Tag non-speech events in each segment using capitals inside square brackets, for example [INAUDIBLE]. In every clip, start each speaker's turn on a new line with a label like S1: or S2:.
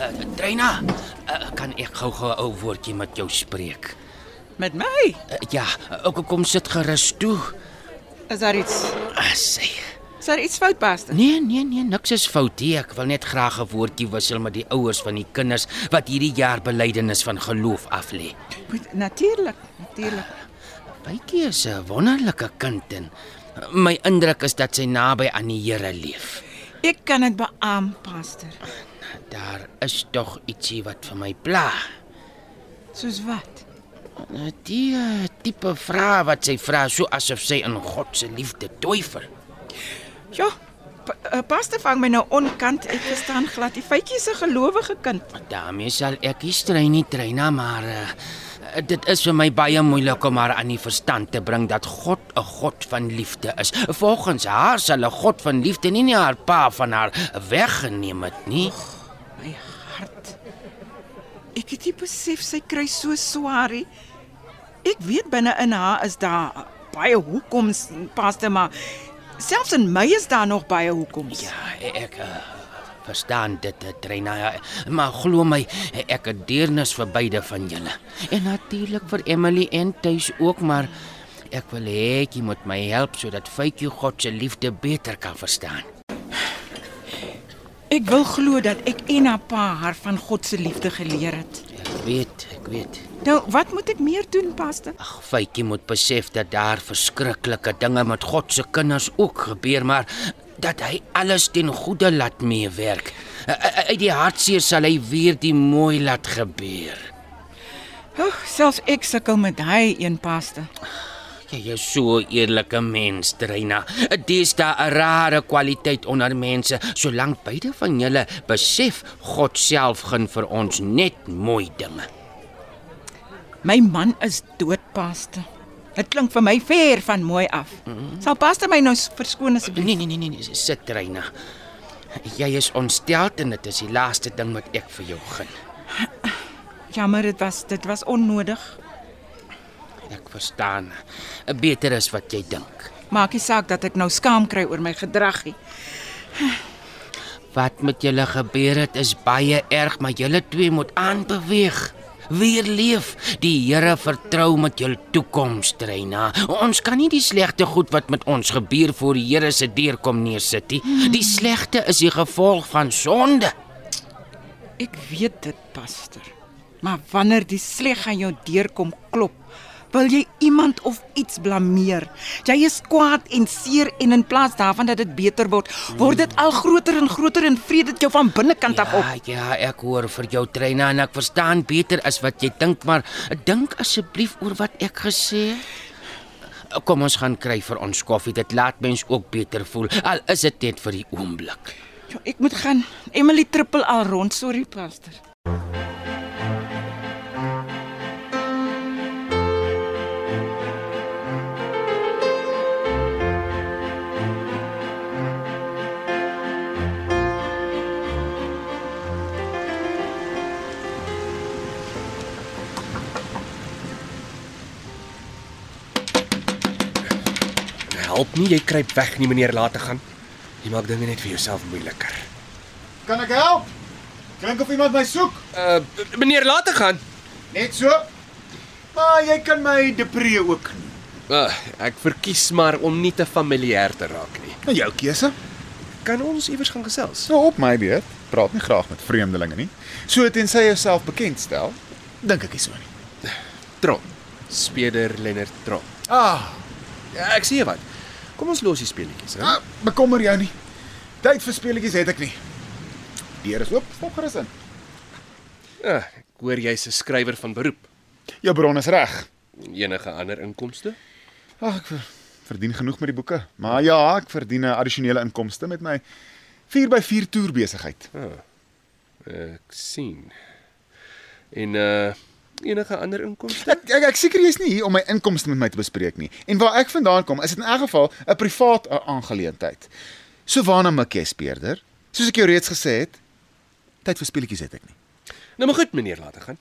S1: Katrina, uh, kan ek gou-gou 'n ou woordjie met jou spreek?
S2: Met my?
S1: Uh, ja, uh, kom- kom sit gerus toe.
S2: Is daar iets?
S1: Ah, sê.
S2: Is daar iets fout, Pastor?
S1: Nee, nee, nee, niks is fout nie. Ek wil net graag 'n woordjie wissel met die ouers van die kinders wat hierdie jaar belydenis van geloof af lê.
S2: Moet natuurlik, natuurlik.
S1: Bytjie is 'n wonderlike kind en eh, my indruk is dat sy naby aan die Here leef.
S2: Ek kan dit beamoen, Pastor.
S1: Daar is tog ietsie wat vir my pla.
S2: Soos wat?
S1: Die eh, tipe vrae wat sy vra, so asof sy in God se liefde twyfel.
S2: Ja, pa- eh, Pastor vang my nou onkant. Ek verstaan glad. Die feitjie is 'n gelowige kind.
S1: Daarmee sal ek nie strei nie, Trina, maar uh, dit is vir my baie moeilik om haar aan die verstand te bring dat God 'n God van liefde is. Volgens haar sal 'n God van liefde nie net haar pa van haar weggeneem het nie.
S2: My hart. Ek het nie besef sy kry so swaar nie. Ek weet binne in haar is daar baie hoekoms, Pastor, maar selfs in my is daar nog baie hoekoms.
S1: Ja, ek uh, verstaan dit, eh, Trina, ja, maar glo my, ek het deernis vir beide van julle. En natuurlik vir Emily en Tuis ook, maar ek wil hê jy moet my help sodat Faitjie God se liefde beter kan verstaan.
S2: Ek wil glo dat ek en haar pa haar van God se liefde geleer het.
S1: Ek weet, ek weet.
S2: Nou, wat moet ek meer doen, Pastor?
S1: Ag, Faitjie moet besef dat daar verskriklike dinge met God se kinders ook gebeur, maar dat hy alles ten goeie laat meewerk. Eh, eh, Uit die hartseer sal hy weer die mooi laat gebeur.
S2: Ag, selfs ek sukkel met daai een, Pastor.
S1: Jy is so 'n eerlike mens, Trina. Dis da 'n rare kwaliteit onder mense, solank beide van julle besef God self gun vir ons net mooi dinge.
S2: My man is dood, Pastor. Dit klink vir my ver van mooi af. Sal Pastor my nou s- verskoon asseblief?
S1: Nee, nee, nee, nee, nee, sit Trina. Jy is ontstel en dit is die laaste ding wat ek vir jou gun.
S2: Jammer, dit was dit was onnodig.
S1: Ek verstaan. Beter is wat jy dink.
S2: Maak nie saak dat ek nou skaam kry oor my gedrag nie.
S1: Wat met julle gebeur het is baie erg, maar julle twee moet aanbeweeg. Weer leef. Die Here vertrou met jul toekoms, Trina. Ons kan nie die slegte goed wat met ons gebeur voor die Here se deur kom neersit nie. Die slegte is die gevolg van sonde.
S2: Ek weet dit, Pastor. Maar wanneer die sleg aan jou deurkom klop, wil jy iemand of iets blameer. Jy is kwaad en seer en in plaas daarvan dat dit beter word, word dit al groter en groter en vreet dit jou van binnekant af op.
S1: Ja, ja, ek hoor vir jou, Trina, en ek verstaan beter as wat jy dink, maar dink asseblief oor wat ek gesê het. Kom ons gaan kry vir ons koffie. Dit laat mens ook beter voel, al is dit net vir die oomblik.
S2: Jo, Ek moet gaan. Emily trippel al rond, sorry, Pastor.
S3: Help nie, jy kruip weg nie, meneer, laat te gaan. Jy maak dinge net vir jouself moeiliker.
S4: Kan ek help? Klink of iemand my soek.
S3: Uh meneer, laat te gaan.
S4: Net so. Maar jy kan my depree ook.
S3: Uh, ek verkies maar om nie te familier te raak nie.
S4: Nou jou keuse.
S3: Kan ons iewers gaan gesels?
S4: So op my beurt, praat nie graag met vreemdelinge nie. So tensy jy jouself bekend stel, dink ek nie so nie.
S3: Tron. Speder Lennard Tron.
S4: Ah,
S3: Ja, Ek sien wat. Kom ons los die speletjies, hè?
S4: ah bekommer jou nie. Tyd vir speletjies het ek nie. Deur is oop, stap gerus in.
S3: Uh, ek hoor jy's 'n skrywer van beroep.
S4: Jou bron is reg.
S3: Enige ander inkomste?
S4: Ag, ek ver- verdien genoeg met die boeke. Maar ja, ek verdien 'n addisionele inkomste met my 4x4 toer besigheid.
S3: Ek sien. En uh enige ander inkomste?
S4: Ek ek, ek seker jy's nie hier om my inkomste met my te bespreek nie. En waar ek vandaan kom, is dit in elk geval 'n privaat a- aangeleentheid. So waarna mik jy speerder? Soos ek jou reeds gesê het, tyd vir speletjies het ek nie.
S3: Nou maar goed, meneer, laat te gaan.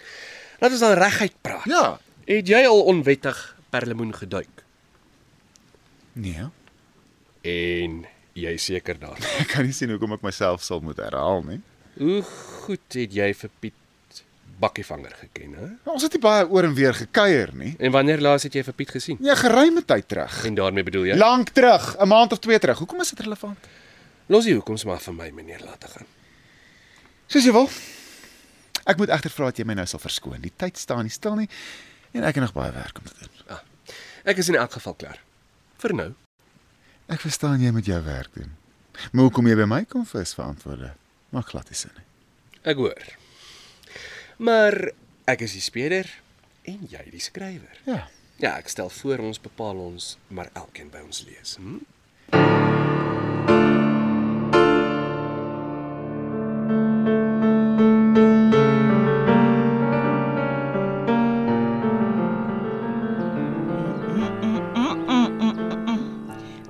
S3: Laat ons dan reguit praat.
S4: Ja.
S3: Het jy al onwettig perlemoen geduik?
S4: Nee.
S3: En jy is seker daar.
S4: Ek kan nie sien hoekom ek myself sal moet herhaal nie.
S3: Hoe goed het jy vir Piet Bakkievanger geken, hè?
S4: Maar Nou, ons het nie baie oor en weer gekuier nie.
S3: En wanneer laas het jy vir Piet gesien?
S4: Ja, geruime tyd terug.
S3: En daarmee bedoel jy?
S4: Lank terug, 'n maand of 2 terug. Hoekom is dit relevant?
S3: Los die hoekoms maar vir my, meneer Latagan.
S4: Soos jy wil. Ek moet egter vra dat jy my nou sal verskoon. Die tyd staan nie stil nie en ek het nog baie werk om te doen.
S3: Ah, Ek is in elk geval klaar. Vir nou.
S4: Ek verstaan jy moet jou werk doen. Maar hoekom jy by my kom vis verantwoorde? Maak glad nie sin nie.
S3: Ek hoor. Maar ek is die speder en jy die skrywer.
S4: Ja.
S3: Ja, ek stel voor ons bepaal ons maar elkeen by ons lees. Hm?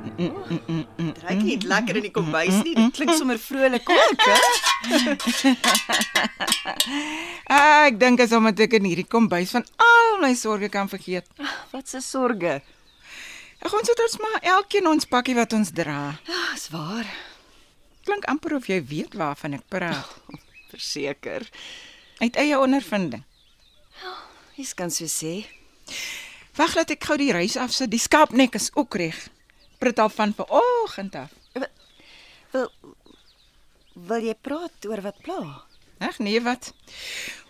S5: Ryk nie lekker in die kombuis nie. Dit klink sommer vrolik ook, hè?
S2: Ah, ek dink as omdat ek in hierdie kombuis van al my sorges kan vergeet.
S5: Wat se sorge.
S2: Ag ons het ons maar elkeen ons pakkie wat ons dra.
S5: Ja, is waar.
S2: Klink amper of jy weet waarvan ek praat.
S5: Verseker.
S2: Uit eie ondervinding.
S5: Jy kan so sê.
S2: Wag laat ek gou die reis afsit. Die skaapnek is ook reg. Prit al van vanoggend af.
S5: Wil wil jy praat oor wat pla?
S2: Ag nee, wat?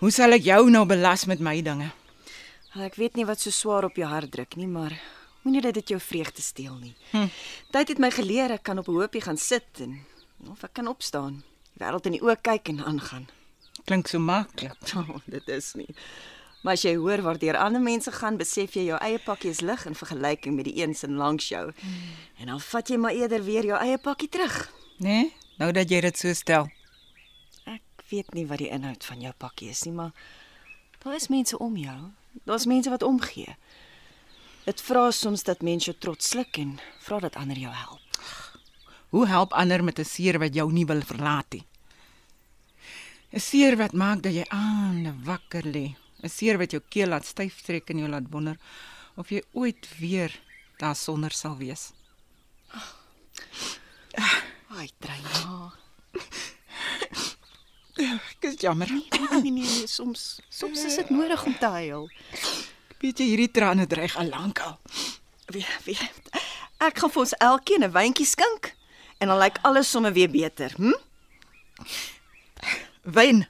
S2: Hoe sal ek jou nou belas met my dinge?
S5: Wel, Ek weet nie wat so swaar op jou hart druk nie, maar moenie dat dit jou vreugde steel nie. Hm. Tyd het my geleer ek kan op 'n hoopie gaan sit en of ek kan opstaan. Die wêreld in die oë kyk en aangaan.
S2: Klink so maklik.
S5: Oh, [LAUGHS] dit is nie. Maar as jy hoor waar deur ander mense gaan, besef jy jou eie pakkie is lig in vergelyking met die eens en langs jou. Hmm. En dan vat jy maar eerder weer jou eie pakkie terug.
S2: Né? Nee? Nou dat jy dit so stel.
S5: Ek weet nie wat die inhoud van jou pakkie is nie, maar daar is mense om jou. Daar's mense wat omgee. Dit vra soms dat mense jou trots sluk en vra dat ander jou help.
S2: Hoe help ander met 'n seer wat jou nie wil verlaat nie? 'n Seer wat maak dat jy aan wakker lê. 'n Seer wat jou keel laat styf trek en jou laat wonder of jy ooit weer daar sonder sal wees.
S5: Ai, Treina.
S2: Ek is jammer.
S5: Nee nee nee, soms soms is dit nodig om te huil.
S2: Weet jy hierdie trane dreig al lank al.
S5: Wie wie Ek gaan vir ons elkeen 'n wyntjie skink en dan lyk alles sommer weer beter. Hm?
S2: Wyn.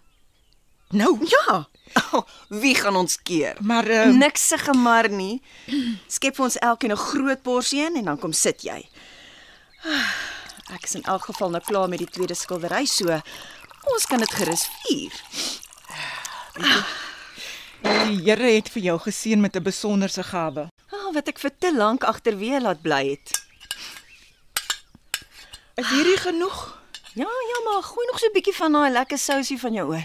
S2: Nou.
S5: Ja. [LAUGHS] Nou. Oh, wie gaan ons keer?
S2: Maar ehm,
S5: Niks se gemar nie. Skep vir ons elkeen 'n groot porsie in en dan kom sit jy. Ah, Ek is in elk geval nou klaar met die tweede skildery, so ons kan dit gerus vier.
S2: die Here het vir jou geseën met 'n besonderse gawe.
S5: Ah, oh, wat ek vir te lank agterweë laat bly het.
S2: Is hierdie genoeg?
S5: Ja, ja, maar gooi nog so 'n bietjie van daai lekker sousie van jou oor.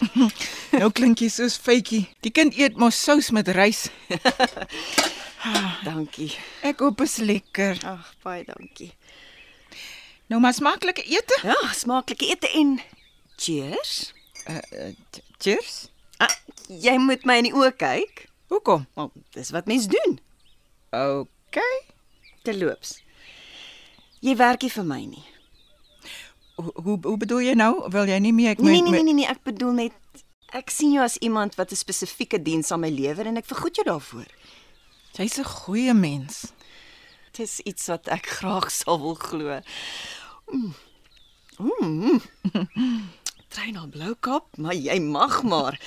S2: Nou klink jy soos feitjie. Die kind eet mos sous met rys.
S5: Dankie.
S2: Ek hoop is lekker.
S5: Ag, baie dankie.
S2: Nou maar smaaklike ete.
S5: Ja, smaaklike ete en cheers. eh,
S2: Cheers.
S5: Ah, jy moet my in die oë kyk.
S2: Hoekom?
S5: Maar dis wat mens doen.
S2: OK.
S5: Terloops. Jy werk nie vir my nie.
S2: Ho- Hoe hoe bedoel jy nou? Wil jy nie meer ek
S5: Nee nee nee nee, nee ek bedoel net ek sien jou as iemand wat 'n spesifieke diens aan my lewer en ek vergoed jou daarvoor. nee.
S2: Jy's 'n goeie mens.
S5: Dis iets wat ek graag sal wil glo. Mm. Mm. [LAUGHS] Trein al blou kap, maar jy mag maar.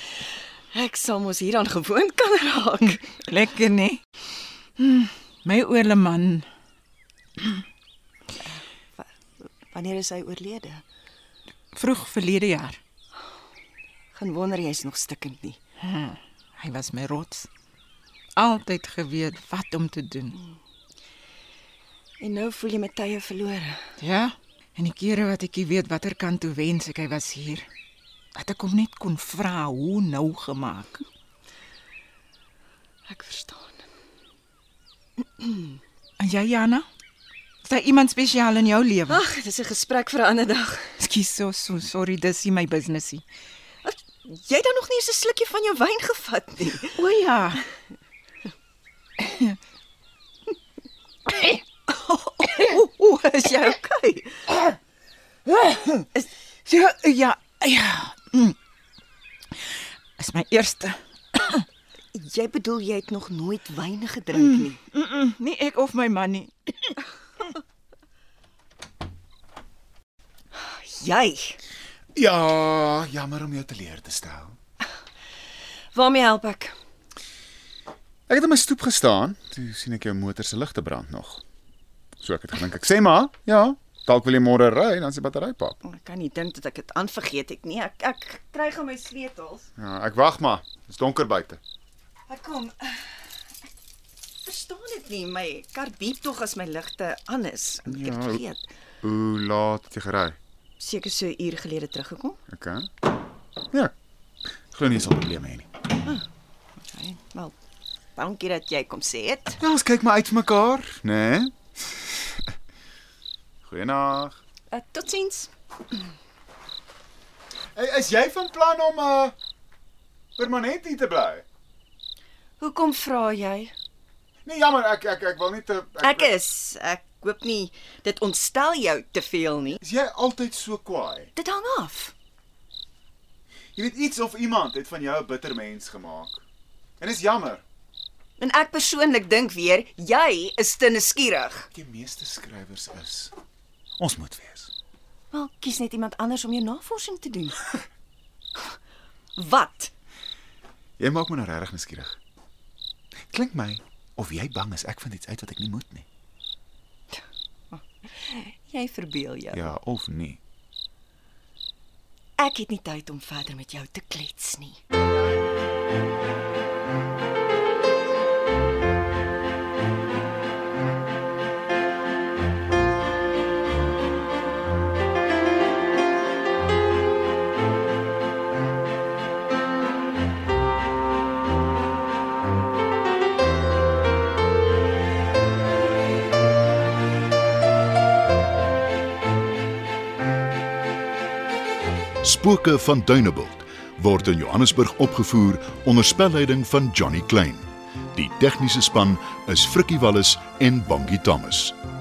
S5: Ek sal mos hieraan gewoond kan raak.
S2: Lekker nê? Hm, My oorle man
S5: Wanneer is hy oorlede?
S2: vroeg verlede jaar.
S5: Geen wonder jy's nog stikkend nie.
S2: Hm, Hy was my rots. Altyd geweet wat om te doen.
S5: En nou voel jy my tye verlore.
S2: Ja. En die kere wat ek nie weet watter kant toe wens ek hy was hier. Dat ek hom net kon vra hoe nou gemaak.
S5: Ek verstaan.
S2: En jy Jana? Is daar iemand spesiaal in jou lewe?
S5: Ag, dis 'n gesprek vir 'n ander dag.
S2: Ekskuus, so, so sorry, dis nie my businessie.
S5: Ag, Jy het dan nog nie eens 'n slukkie van jou wyn gevat nie.
S2: O ja.
S5: O, is jy okay?
S2: Ja, ja, ja. Dis my eerste.
S5: Jy bedoel jy het nog nooit wyn gedrink nie.
S2: Mm -mm, nie ek of my man nie.
S5: Jy.
S4: Ja, jammer om jou te leer te stel.
S5: Waarmee help ek?
S4: Ek het op my stoep gestaan, toe sien ek jou motor se ligte brand nog. So ek het gedink, ek sê maar, ja, dalk wil jy môre ry, dan is die battery pap.
S5: Ek kan nie dink dat ek dit aanvergeet het nie. Ek ek kry gou my sleutels.
S4: Ja, ek wag maar. Dit's donker buite.
S5: Ek kom. Ek verstaan dit nie. My kar beep tog as my ligte aan is. Ek het
S4: Ja.
S5: dit vergeet.
S4: Hoe laat het jy gery?
S5: Seker so 'n uur gelede teruggekom.
S4: OK. Ja. Glo nie sal probleme hê nie.
S5: Okay. Wel. Dankie dat jy kom sê dit.
S4: Ja, ons kyk maar uit vir mekaar, né? [LAUGHS] Nee? Goeienaand.
S5: Uh, Totsiens.
S4: Is jy van plan om uh permanent hier te bly?
S5: Hoekom vra jy?
S4: Nee, jammer, ek ek ek wil nie te
S5: Ek is. Ek hoop nie dit ontstel jou te veel nie.
S4: Is jy altyd so kwaai?
S5: Dit hang af.
S4: Jy weet iets of iemand het van jou 'n bitter mens gemaak. En dis jammer.
S5: En ek persoonlik dink weer jy is te nuuskierig.
S4: Die meeste skrywers is ons moet wees.
S5: Wel, kies net iemand anders om jou navorsing te doen. Wat?
S4: Jy maak my nou regtig nuuskierig. Klink my of jy bang is ek vind iets uit wat ek nie moet nie.
S5: Jy verbeel jou.
S4: Ja, of nie.
S5: Ek het nie tyd om verder met jou te klets nie.
S6: Spooke van Dunebuld word in Johannesburg opgevoer onder spelleiding van Johnny Klein. Die tegniese span is Frikkie Wallis en Bongie Thomas.